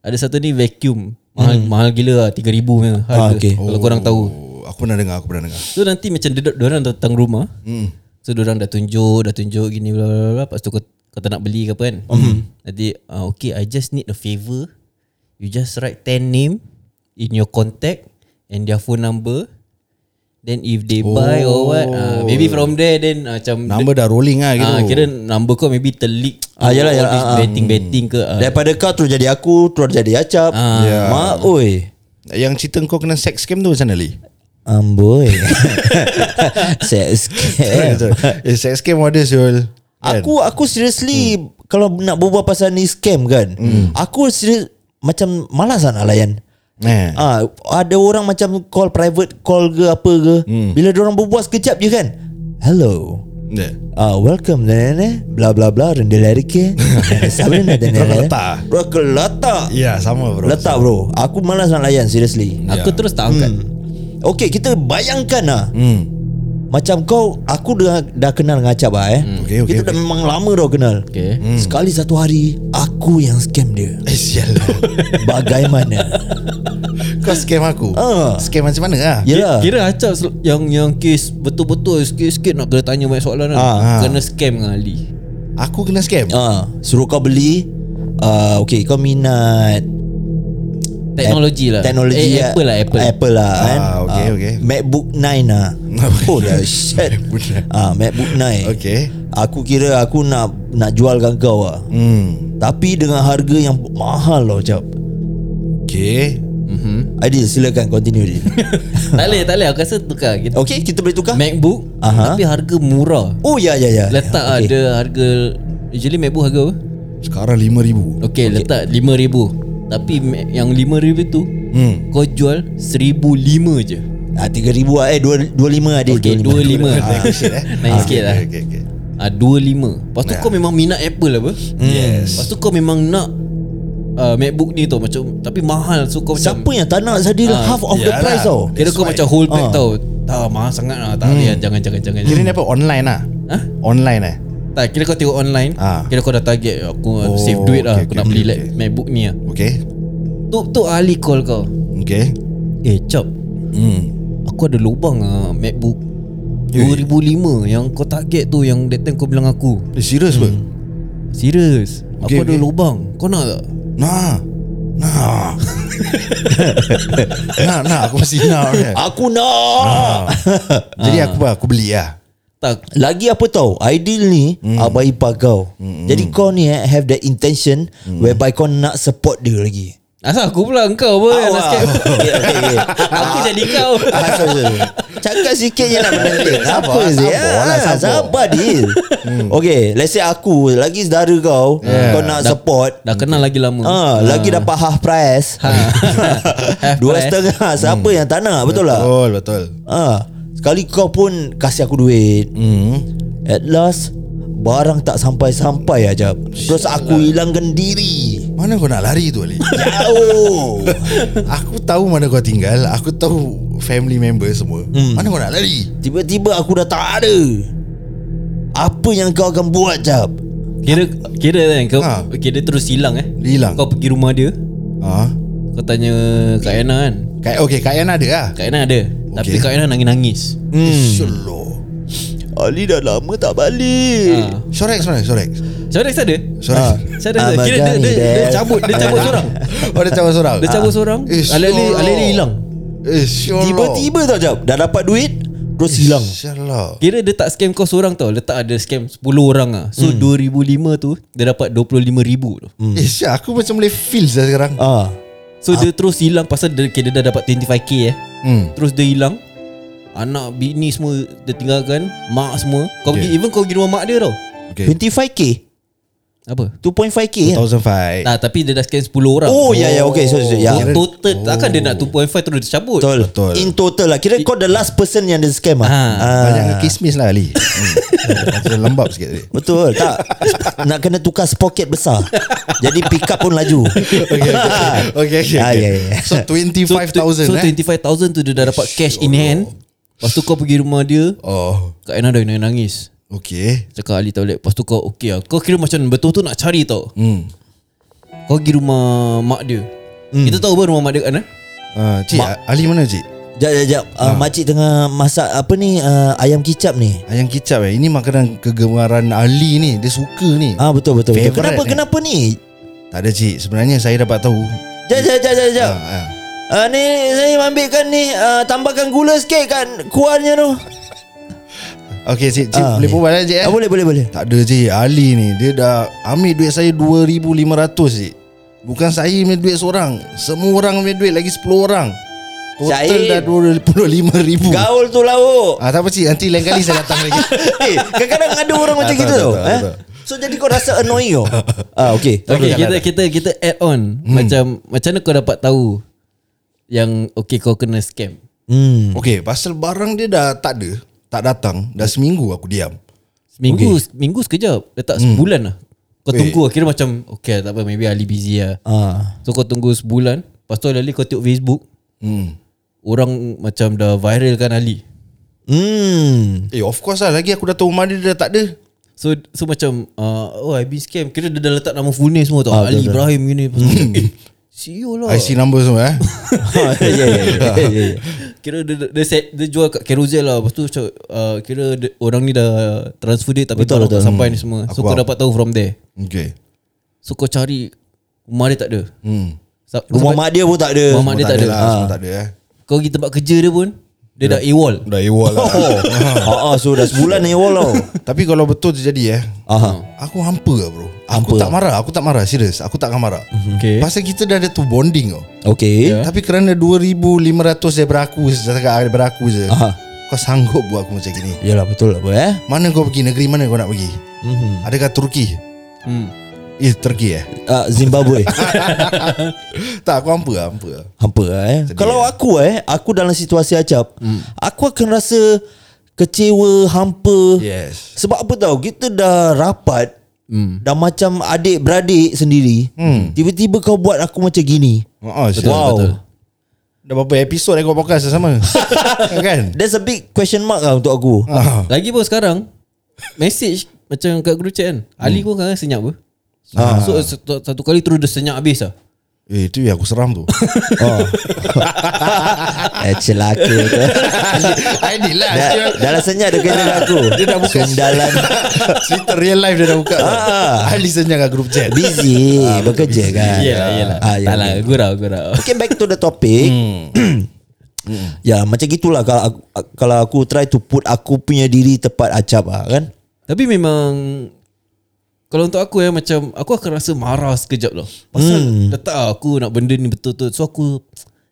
A: Ada satu ni vacuum. Mahal mm. mahal gila lah 3000 punya harga.
B: Ah, okay.
A: Kalau korang tahu.
C: Oh, Aku pernah dengar Aku pernah dengar
A: So nanti macam dia orang datang rumah. Mm.
B: Hmm.
A: So dia orang dah tunjuk, dah tunjuk gini bla bla bla. Lepas tu kau, kau tak nak beli ke apa kan?
B: Hmm.
A: Mm. Nanti uh, okay I just need a favor. You just write 10 name in your contact and their phone number. Then if they oh. buy or what, uh, maybe from there then uh, macam
C: Number dah rolling lah gitu
A: Ah, kira number kau maybe terleak
B: Ah,
A: All
B: yalah, yalah,
A: this
B: ah, ah.
A: betting betting ke ah.
B: Daripada kau terus jadi aku Terus jadi acap ah.
C: Ya.
B: Mak oi
C: Ah. Yang cerita kau kena sex scam tu macam mana Lee?
B: Amboi Sex scam
C: Eh, sex scam ada Syul Kan?
B: Aku aku seriously
C: Hmm.
B: Kalau nak berbual pasal ni scam kan Aku serius Macam malas lah nak layan
C: Eh.
B: Ah, ada orang macam call private call ke apa ke. Hmm. Bila dia orang berbual sekejap je kan. Hello.
C: Ya.
B: Ah, welcome nene. Bla bla bla rendah lari ke. Sabrina dan
C: Kau
B: nene.
C: letak?
B: Bro kau letak.
C: Ya sama bro
B: Letak bro. Aku malas nak layan seriously.
A: Aku terus tak Ya, angkat.
B: Hmm. Okay kita bayangkan lah
C: Hmm.
B: Macam kau Aku dah, dah kenal dengan Acap lah eh hmm.
C: Okay, okay,
B: Kita dah memang lama dah kenal
A: Okay.
B: hmm. Sekali satu hari Aku yang scam dia
C: Eh sial lah.
B: Bagaimana
C: Kau scam aku
B: Ah.
C: Scam macam mana lah
B: Yelah
A: Kira acap sel- yang yang kes betul-betul sikit-sikit nak kena tanya banyak soalan kan.
B: Ah,
C: ah.
A: Kena scam dengan Ali.
C: Aku kena scam
B: Ah, Suruh kau beli uh, Okay kau minat
A: Teknologi lah.
B: Teknologi
A: eh, Apple lah Apple.
B: Apple lah kan
C: Ah, okay,
B: Ah,
C: okay.
B: MacBook 9 lah Oh lah shit
C: MacBook 9.
B: ah, MacBook 9
C: Okay
B: Aku kira aku nak Nak jualkan kau lah
C: Hmm
B: Tapi dengan harga yang mahal lah Cap
C: Okay
A: Hmm?
B: Adil silakan continue Adil
A: tak boleh tak boleh aku rasa tukar kita.
B: Okay kita boleh tukar
A: MacBook
B: Aha.
A: tapi harga murah.
B: Oh ya ya ya
A: Letak okay. ada harga usually MacBook harga apa?
C: Sekarang RM5,000
A: Okey okay. letak 5000. Tapi Mac- yang 5000 tu
C: Hmm
A: kau jual 1005 je.
B: ah, 3000 lah Eh 25 Adil
A: Okey 25. Ah, Ya.
C: Shit, eh.
A: Naik sikit lah.
C: Okay, okay.
A: Ah 25. Lepas tu kau memang minat Apple apa?
C: Yes
A: Lepas tu kau memang nak uh, MacBook ni tau macam tapi mahal so kau macam
B: Siapa yang tak nak Adil
A: Ah,
B: Half of the
C: yalah.
B: price tau
A: Kira
C: That's
A: kau
C: why.
A: macam hold back tau Tak mahal sangat lah Tak boleh lah Jangan jangan jangan
C: Kira ni apa online lah
A: Hah?
C: Online eh
A: Tak kira kau tengok online
C: Ah.
A: Kira kau dah target Aku oh,
C: Oh,
A: save duit lah
C: okay,
A: Aku
C: okay,
A: nak beli
C: okay,
A: okay.
C: okay.
A: MacBook ni lah
C: Okay
A: Tu tu Ali call kau
C: Okay
A: Eh Chop
C: Hmm
A: Aku ada lubang lah MacBook Eh. 2005 Yang kau target tu Yang that time kau bilang aku
C: Eh serius hmm.
A: Serius
C: Okay,
A: Aku ada
C: okay.
A: lubang Kau nak tak?
C: Nah Nah Nah nah Aku mesti nah kan?
B: Aku nak
C: Jadi aku aku beli lah
A: Tak
B: Lagi apa tau Ideal ni
A: Hmm.
B: mm. Abang ipar kau mm. Jadi kau ni eh, Have that intention
A: Hmm.
B: mm. Whereby kau nak support dia lagi Ah.
A: Asal aku pula Engkau pun yang nak
B: Awak.
A: skip
B: okay, okay, okay.
A: Aku jadi kau
B: Ah, sorry, sorry. Cakap sikit je nak penting Apa
C: Sabar,
B: sih
C: sabar
B: ah,
C: lah, sabar.
B: Sabar Dil Okay Let's say aku Lagi saudara kau Kau nak
A: Dah-
B: support
A: Dah kenal lagi lama
B: Ah, Lagi dapat half price
A: Hmm. Half
B: Dua
A: price.
B: setengah Siapa yang tak nak Betul lah
C: Betul betul
B: Ah, Sekali kau pun Kasih aku duit
C: Hmm
B: At last Barang tak sampai-sampai aja. Terus aku hilangkan diri
C: Mana kau nak lari tu Ali?
B: Jauh
C: aku tahu mana kau tinggal, aku tahu family member semua. Hmm. Mana kau nak lari?
B: Tiba-tiba aku dah tak ada Apa yang kau akan buat Jab?
A: Kira kira kan kau
C: Ha.
A: okay, dia terus hilang eh.
C: Hilang.
A: Kau pergi rumah dia,
C: Ha?
A: kau tanya Kak Yana kan.
C: Kak okey, Kak Yana ada lah.
A: Kak Yana ada. Okay. Tapi Kak Yana nangis-nangis.
C: Hmm. Solo.
B: Hmm. Ali dah lama tak balik Ah.
A: Ha.
C: Sorex mana? Sorex.
A: Syarif ada?
C: Sorex.
A: Syarif ada. Kira dia, dia, dia, dia cabut, dia cabut seorang.
C: Oh dia cabut seorang.
A: Dia cabut seorang.
C: Eh,
A: Alih-alih
C: syolok.
A: alih-alih hilang.
C: Eh, syolok.
B: Tiba-tiba tau Jab Dah dapat duit Terus hilang
C: Syolok.
A: Kira dia tak scam kau seorang tau. Letak ada scam 10 orang ah.
B: Hmm.
A: So 2005 tu dia dapat 25,000 tu.
C: Eh, Syah, aku macam boleh feel dah sekarang.
B: Ah,
A: So dia terus hilang pasal dia, okay, dia dah dapat 25k eh.
C: Hmm.
A: Terus dia hilang. Anak bini semua dia tinggalkan, mak semua. Kau pergi even kau pergi rumah mak dia tau.
C: Okay.
B: 25k
A: Apa?
B: 2.5k kan?
C: 2005.
A: Nah, tapi dia dah scam 10 orang.
B: Oh, ya ya okay so, so ya.
A: Yeah. Total oh. Takkan dia nak 2.5 terus dia cabut
B: Betul.
C: Betul.
B: In total lah Kira kau the last person yang dia scam lah
A: Ha.
B: ah.
C: Banyak kismis lah Ali. Hmm. Macam lembab sikit tadi.
B: Betul tak Nak kena tukar spoket besar Jadi pick up pun laju
C: Okay, okay, okay, okay,
B: Ah,
C: okay.
B: yeah, yeah.
C: So 25,000
A: so,
C: eh.
A: 25,000 tu dia dah dapat cash in hand Lepas tu kau pergi rumah dia
C: Oh,
A: Kak Ena dah nangis
C: okay.
A: Cakap Ali toilet Lepas tu kau okay lah Kau kira macam betul-betul nak cari tau
C: Hmm.
A: Kau pergi rumah mak dia Kita tahu apa rumah mak dia kat mana
C: Ah, cik, Ali mana cik?
B: Jap jap jap
C: Ah.
B: uh, Makcik tengah masak Apa ni uh, Ayam kicap ni
C: Ayam kicap eh. Ini makanan kegemaran Ali ni. Dia suka ni.
B: Ah betul betul, betul.
C: Favourite
B: Kenapa
C: ni.
B: kenapa ni
C: Tak ada cik. Sebenarnya saya dapat tahu.
B: Jap jap jap jap jap
C: Ah, ah.
B: uh, Ni saya ambilkan ni uh, Tambahkan gula sikit kat kuahnya tu
C: Okay cik, cik
B: Ah,
C: boleh
B: okay.
C: berbual eh cik eh?
B: ah, Boleh boleh boleh
C: Tak ada cik. Ali ni dia dah ambil duit saya 2,500 cik. Bukan saya punya duit seorang. Semua orang punya duit lagi 10 orang. Total
B: Syahid.
C: dah 25,000.
B: Gaul tu lauk
C: Ah, tak apa cik, nanti lain kali saya datang lagi.
B: Eh kadang-kadang ada orang macam
C: Betul,
B: gitu tau
C: betul,
B: eh?
C: betul.
B: So jadi kau rasa annoying kau Ah okay
A: Okay
C: Betul.
A: kita, kita kita add on Macam macam mana kau dapat tahu Yang okay kau kena scam
B: Hmm
C: Okay, pasal barang dia dah tak ada. Tak datang. Dah seminggu aku diam.
A: Seminggu okay. Minggu sekejap Letak sebulan lah Kau tunggu lah Kira macam Okay tak apa Maybe Ali busy lah
B: Ah,
A: So kau tunggu sebulan Lepas tu Ali kau tengok Facebook
C: Hmm.
A: Orang macam dah viral kan Ali
B: Hmm
C: Eh, of course lah. Lagi aku dah tahu rumah dia dia dah tak ada.
A: So so macam uh, Oh I been scam Kira dia dah letak nama full name semua tau
B: Ah,
A: ah, Ali
B: betul, Hmm.
A: Ibrahim gini Eh See you lah
C: IC number semua eh.
B: Ya ya ya
A: Kira dia, dia, set, dia jual kat Carousel lah Lepas tu macam, uh, Kira dia, orang ni dah transfer dia Tapi
B: Betul,
A: betul,
B: betul. Hmm.
A: tak sampai ni semua So
C: Aku
A: kau
C: faham.
A: dapat tahu from there
C: Okay.
A: So kau cari Rumah dia tak ada
C: Hmm.
A: Sa-
B: Rumah
A: sampai-
B: mak dia pun tak ada
A: Rumah mak dia tak ada
C: Lah,
A: Ah.
C: semua tak ada eh.
A: Kau pergi tempat kerja dia pun Dia dah AWOL
C: Dah AWOL lah.
B: Ah, ah, so dah sebulan ni wall tau
C: Tapi kalau betul terjadi eh.
B: Ah,
C: Aku hampa lah bro. Aku
B: Hampa. Mhm,
C: tak marah, aku tak marah serius. Aku takkan marah.
A: Okay
C: Pasal kita dah ada tu bonding tau.
B: Okay
A: Ya.
C: Tapi kerana 2500 daripada aku Cakap daripada aku je
B: Aha.
C: Kau sanggup buat aku macam gini
B: Yalah betul lah apa eh
C: Mana kau pergi negeri mana kau nak pergi
B: Mhm.
C: Adakah Turki
A: hmm.
C: Eh Turki eh
B: Ah, Zimbabwe
C: Tak aku hampa lah hampa lah
B: Hampa lah eh
C: Sedih,
B: Kalau
C: eh.
B: aku eh Aku dalam situasi acap Aku akan rasa Kecewa Hampa
C: Yes
B: Sebab apa tahu Kita dah rapat
A: Hmm.
B: Dah macam adik-beradik sendiri Tiba-tiba kau buat aku macam gini
C: oh,
B: Hmm. Betul, wow
A: betul.
C: Dah berapa episod aku podcast dah sama Kan
B: That's a big question mark lah untuk aku
C: ah.
A: Lagi pun sekarang Message Macam kat group chat kan
B: Hmm.
A: Ali pun kadang senyap pun
B: Ah.
A: So satu, satu kali terus dia senyap habis lah
C: Eh tu yang aku seram tu
B: oh. eh celaka tu
C: Aidil lah
B: Dah, dah lah senyap dia kena aku Dia dah buka Sundalan
C: Cerita real life dia dah buka ah. Ali senyap kat group chat
B: Busy Bekerja kan Ah, ya,
A: Tak lah
B: ya.
A: gurau gurau
B: Okay back to the topic
A: Hmm.
B: Ya macam gitulah kalau aku, kalau aku try to put aku punya diri tepat acap lah kan
A: Tapi memang Kalau untuk aku ya Macam Aku akan rasa marah sekejap lah Pasal hmm. Letak lah aku nak benda ni betul-betul So aku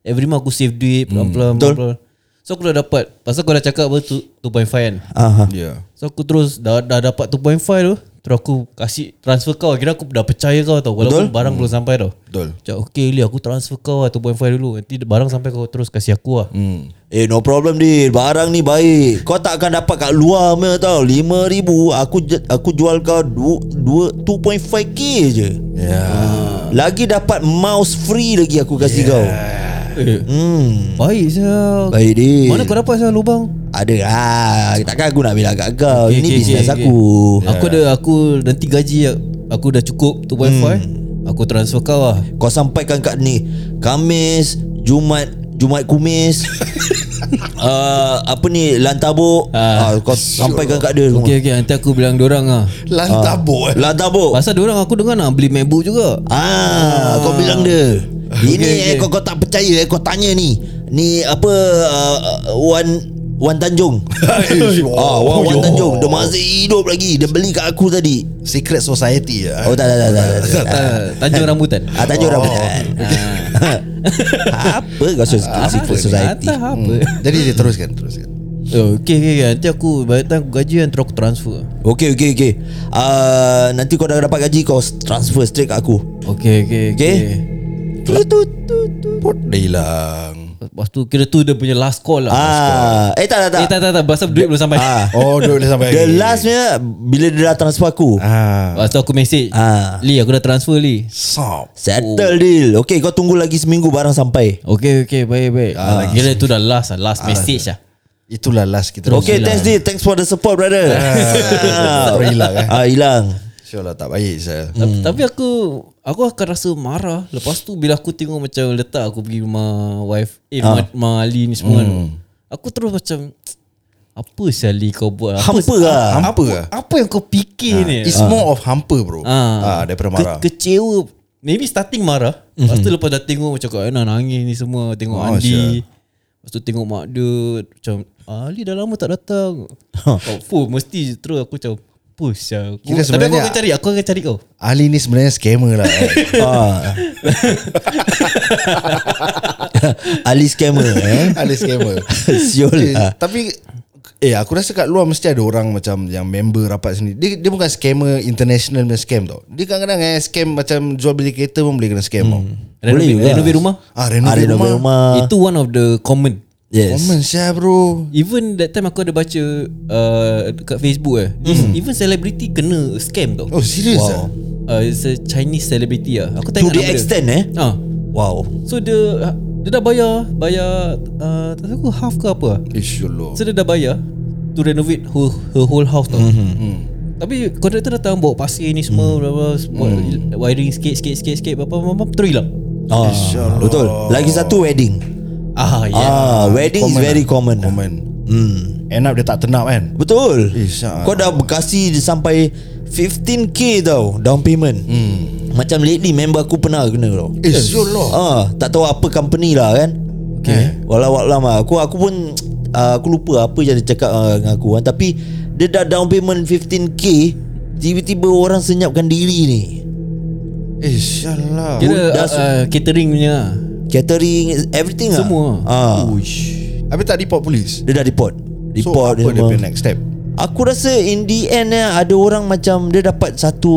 A: Every month aku save duit Pelan-pelan pelan-pelan. So aku dah dapat Pasal kau dah cakap apa tu 2.5 kan
B: Aha.
C: Ya
A: So aku terus Dah, dah dapat 2.5 tu Terus aku kasih transfer kau Kira aku dah percaya kau tau Walaupun Betul? barang hmm. belum sampai tau
C: Betul
A: Macam okay Lee aku transfer kau lah 2.5 dulu Nanti barang sampai kau terus kasih aku lah hmm.
B: Eh no problem dir Barang ni baik Kau tak akan dapat kat luar punya tau 5 ribu Aku je- aku jual kau du- dua- 2.5k je
C: Ya
B: Lagi dapat mouse free lagi aku kasih
A: Ya.
B: kau
A: eh,
B: Hmm
A: Baik sah
B: Baik dir
A: Mana kau dapat sah lubang
B: Ada lah Takkan aku nak bilang kat kau
A: Okay,
B: Ini
A: okay,
B: bisnes
A: okay, okay.
B: aku
A: Oh, Aku ada aku nanti gaji aku dah cukup 2.5 Aku transfer kau lah
B: Kau sampaikan kat ni Kamis Jumat Jumat kumis uh, apa ni lantabuk
A: Ah.
B: uh, kau sampaikan kat dia
A: Okay
B: okay.
A: okay Nanti aku bilang dorang lah
C: Lantabuk eh.
B: Lantabuk
A: Pasal dorang aku dengar nak beli MacBook juga
B: Ah, kau bilang dia. Ini
A: Okey,
B: eh
A: okey.
B: kau kau tak percaya eh kau tanya ni. Ni apa uh, Wan Wan Tanjung.
C: Eh,
B: Ah, Wan, Wan
C: yo.
B: Tanjung Dia masih hidup lagi Dia beli kat aku tadi
C: Secret Society eh.
B: Oh tak tak tak tak, tak, tak.
A: Ah, Tanjung rambutan
B: Ah, Tanjung
C: Oh.
B: Rambutan Ah. Apa kau sus- secret society
A: Tak apa
C: Jadi dia teruskan Teruskan
A: Oh, Okay okay okay. Nanti aku By the time aku gaji Nanti aku transfer
B: Okay okay okay uh, Nanti kau dah dapat gaji Kau transfer straight kat aku
A: Okay okay okay,
B: Okay. Tu tu tu tu
C: Pot dah hilang
A: Lepas tu kira tu dia punya last call lah
B: Ah, Eh tak tak tak
A: Eh tak tak tak Pasal duit belum sampai
B: Ah.
C: Oh dia boleh sampai
B: The lastnya Bila dia dah transfer aku
C: ah.
A: Lepas tu aku message
B: Ah.
A: Li aku dah transfer Li
C: Sop
B: Settle deal Okay kau tunggu lagi seminggu Barang sampai
A: Okay okay baik baik ah, Kira tu dah last lah Last message lah
C: Itulah last kita lah.
B: Okay thanks deal Thanks for the support brother
C: Ah, sorry, hilang, eh.
B: Ah, Hilang
C: InsyaAllah tak baik saya.
A: Hmm. Tapi aku Aku akan rasa marah Lepas tu bila aku tengok Macam letak aku pergi rumah Wife Eh ha.
B: Ah.
A: Ma, Ma Ali ni semua kan
B: Hmm.
A: Aku terus macam Apa Sally kau buat Apa,
B: Hampa lah Ah.
C: Hampa lah
A: apa yang kau fikir ni
C: It's more of hampa bro ah. Daripada marah
A: Ke, Kecewa Maybe starting marah mm-hmm.
B: Mhm.
A: Lepas tu lepas dah tengok Macam Kak Ana nangis ni semua Tengok
C: Oh,
A: oh, Andi
C: sure.
A: Lepas tu tengok mak dia Macam Ali dah lama tak datang oh, fuh, Mesti terus aku macam Push lah aku,
C: Kira
A: Tapi aku
C: sebenarnya-
A: akan cari Aku akan cari kau
C: Ali ni sebenarnya scammer lah eh.
B: ah. Ali scammer eh?
C: Ali scammer
B: Siul
C: eh,
B: lah
C: Tapi Eh aku rasa kat luar Mesti ada orang macam Yang member rapat sini Dia, dia bukan scammer International punya scam tau Dia kadang-kadang eh, Scam macam Jual beli kereta pun Boleh kena scam tau
A: Renovate,
B: juga.
A: renovate rumah
B: Hmm. Ah,
C: Ah renovate
B: Renovate
C: rumah, rumah.
B: rumah
A: Itu one of the common
B: Yes
C: Common siya bro
A: Even that time aku ada baca uh, Dekat Facebook eh mm.
B: Hmm.
A: Even celebrity kena scam tau
C: Oh serius wow.
B: Wow.
A: uh, It's a Chinese celebrity lah Aku tak
B: To
A: ingat
B: the
A: nama dia.
B: extent eh
A: Ah,
B: Wow
A: So dia Dia dah bayar Bayar uh, Tak tahu aku half ke apa lah.
C: InsyaAllah
A: So dia dah bayar To renovate her, her whole house tau mm-hmm. Tapi kontraktor datang Bawa pasir ni
B: Hmm.
A: semua mm. blah, blah, buat Wiring sikit Sikit sikit sikit Bapa mama Terus hilang
B: ah, Betul Lagi satu wedding
A: Ah yeah
B: Ah, Wedding is
C: Ya. Common
B: very
C: lah.
B: common lah.
C: Common hmm. End up dia tak turn up kan
B: Betul
C: Eh, syak.
B: Kau dah berkasih dia sampai 15k tau Down payment
C: Hmm.
B: Macam lately member aku pernah kena tau
C: Eh, InsyaAllah
B: Ah, tak tahu apa company lah kan. Okay. Walau walau lah. Aku aku pun ah, aku lupa apa yang dia cakap ah, dengan aku kan. Tapi dia dah down payment 15k tiba-tiba orang senyapkan diri ni.
C: InsyaAllah
A: Kira
B: dah
A: uh, uh, catering punya lah.
B: Catering everything ah.
A: Semua.
B: Ah.
C: Habis tak report polis
B: Dia dah report.
C: So
B: Report
C: apa dia
B: semua.
C: punya next step
B: Aku rasa in the end eh, ada orang macam dia dapat satu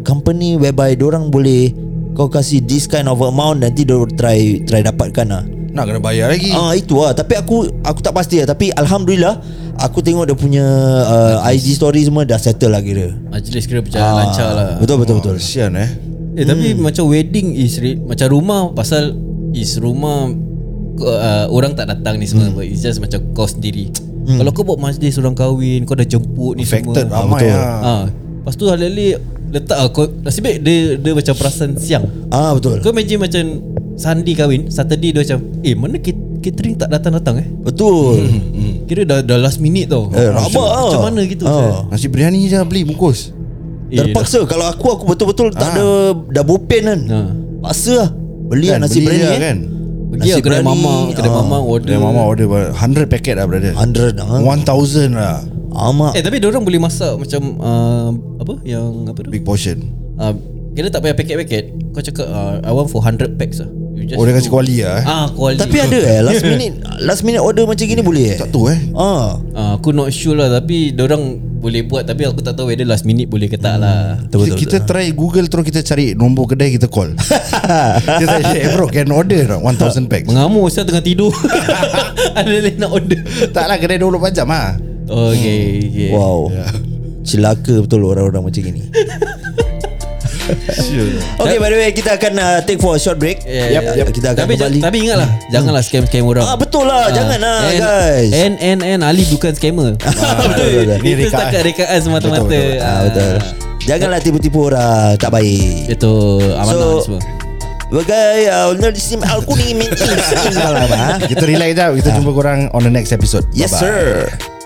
B: company whereby dia orang boleh kau kasih this kind of amount nanti dia try try dapatkan lah.
C: Nak kena bayar lagi
B: Ah itu lah tapi aku aku tak pasti lah tapi alhamdulillah aku tengok dia punya uh, IG story semua dah settle lah kira. Ah,
A: Majlis Ah, kira berjalan lancar lah
B: Betul betul betul.
C: Kesian eh
A: Eh tapi macam wedding is re- macam rumah pasal is rumah uh, orang tak datang ni semua hmm. it's just macam kau sendiri. Hmm. Kalau kau buat majlis orang kahwin, kau dah jemput ni
C: Affected
A: semua.
C: ramai
B: betul.
C: lah
A: Ha. Lepas tu alih-alih letak ah, kau nasib baik dia dia macam perasan siang.
B: Ah betul.
A: Kau imagine macam Sunday kahwin, Saturday dia macam eh mana cat- catering tak datang-datang eh?
B: Betul.
C: Hmm.
A: Kira dah, dah last minute tau.
B: Eh, rabak
A: Macam-
B: ah.
A: Macam mana gitu?
B: Ah.
A: Ustaz?
C: Nasi biryani je beli bungkus
A: Eh,
B: Terpaksa kalau aku aku betul-betul
C: Ah.
B: tak ada dah bopen kan.
A: Ha.
B: Paksa lah beli lah
C: Kan,
B: nasi
C: beli
B: biryani
C: lah
B: eh.
C: kan
A: Pergi lah
B: Nasi
A: kedai
B: berani,
A: mama, kedai
B: ah.
A: mama order.
C: Dia mama order about 100 packet lah brother
B: 100 ah.
C: 1000 lah
B: Amak.
A: Eh tapi orang boleh masak macam uh, apa yang apa tu?
C: Big portion
A: Uh, kira tak payah paket-packet. Kau cakap uh, I want for 100 packs lah. You just
C: Oh dia
A: do-
C: kasih kuali lah eh
A: Ah, kuali.
B: Tapi ada eh last minute last minute order macam gini boleh eh?
C: Tak tahu eh
B: Ah.
A: Ah, aku not sure lah tapi orang boleh buat tapi aku tak tahu whether last minute boleh ke tak lah.
B: Hmm, Betul betul.
C: kita, kita try Google terus kita cari nombor kedai kita call. kita try eh bro can order tak? 1000 pack.
A: Mengamuk saya tengah tidur. ada lain nak order.
C: Taklah lah, kedai 24 jam ah.
B: Hmm.
A: Okay, okay.
B: Wow. Celaka betul orang-orang macam gini. Okay by the way kita akan uh, take for a short break.
A: Yeah, yeah.
B: Kita akan
A: tapi,
B: kembali.
A: ja- tapi ingatlah Janganlah
C: Hmm.
A: scam-scam orang
B: Ah betul
A: Ah,
B: lah, janganlah
A: and,
B: guys.
A: And and and Ali bukan scammer. Ah,
B: betul, betul.
A: Ini
C: Ini rekaan.
A: setakat rekaan semata-mata.
C: Betul, betul,
A: Ah,
B: Betul. Janganlah tipu-tipu orang tak baik. uh,
A: Itu amanah
B: So-
A: semua.
B: Bagai Nerdisim Al-Kuning Min Im Sim Malam ah.
C: Kita relax jap Kita jumpa korang On the next episode
B: Yes
C: Bye-bye.
B: sir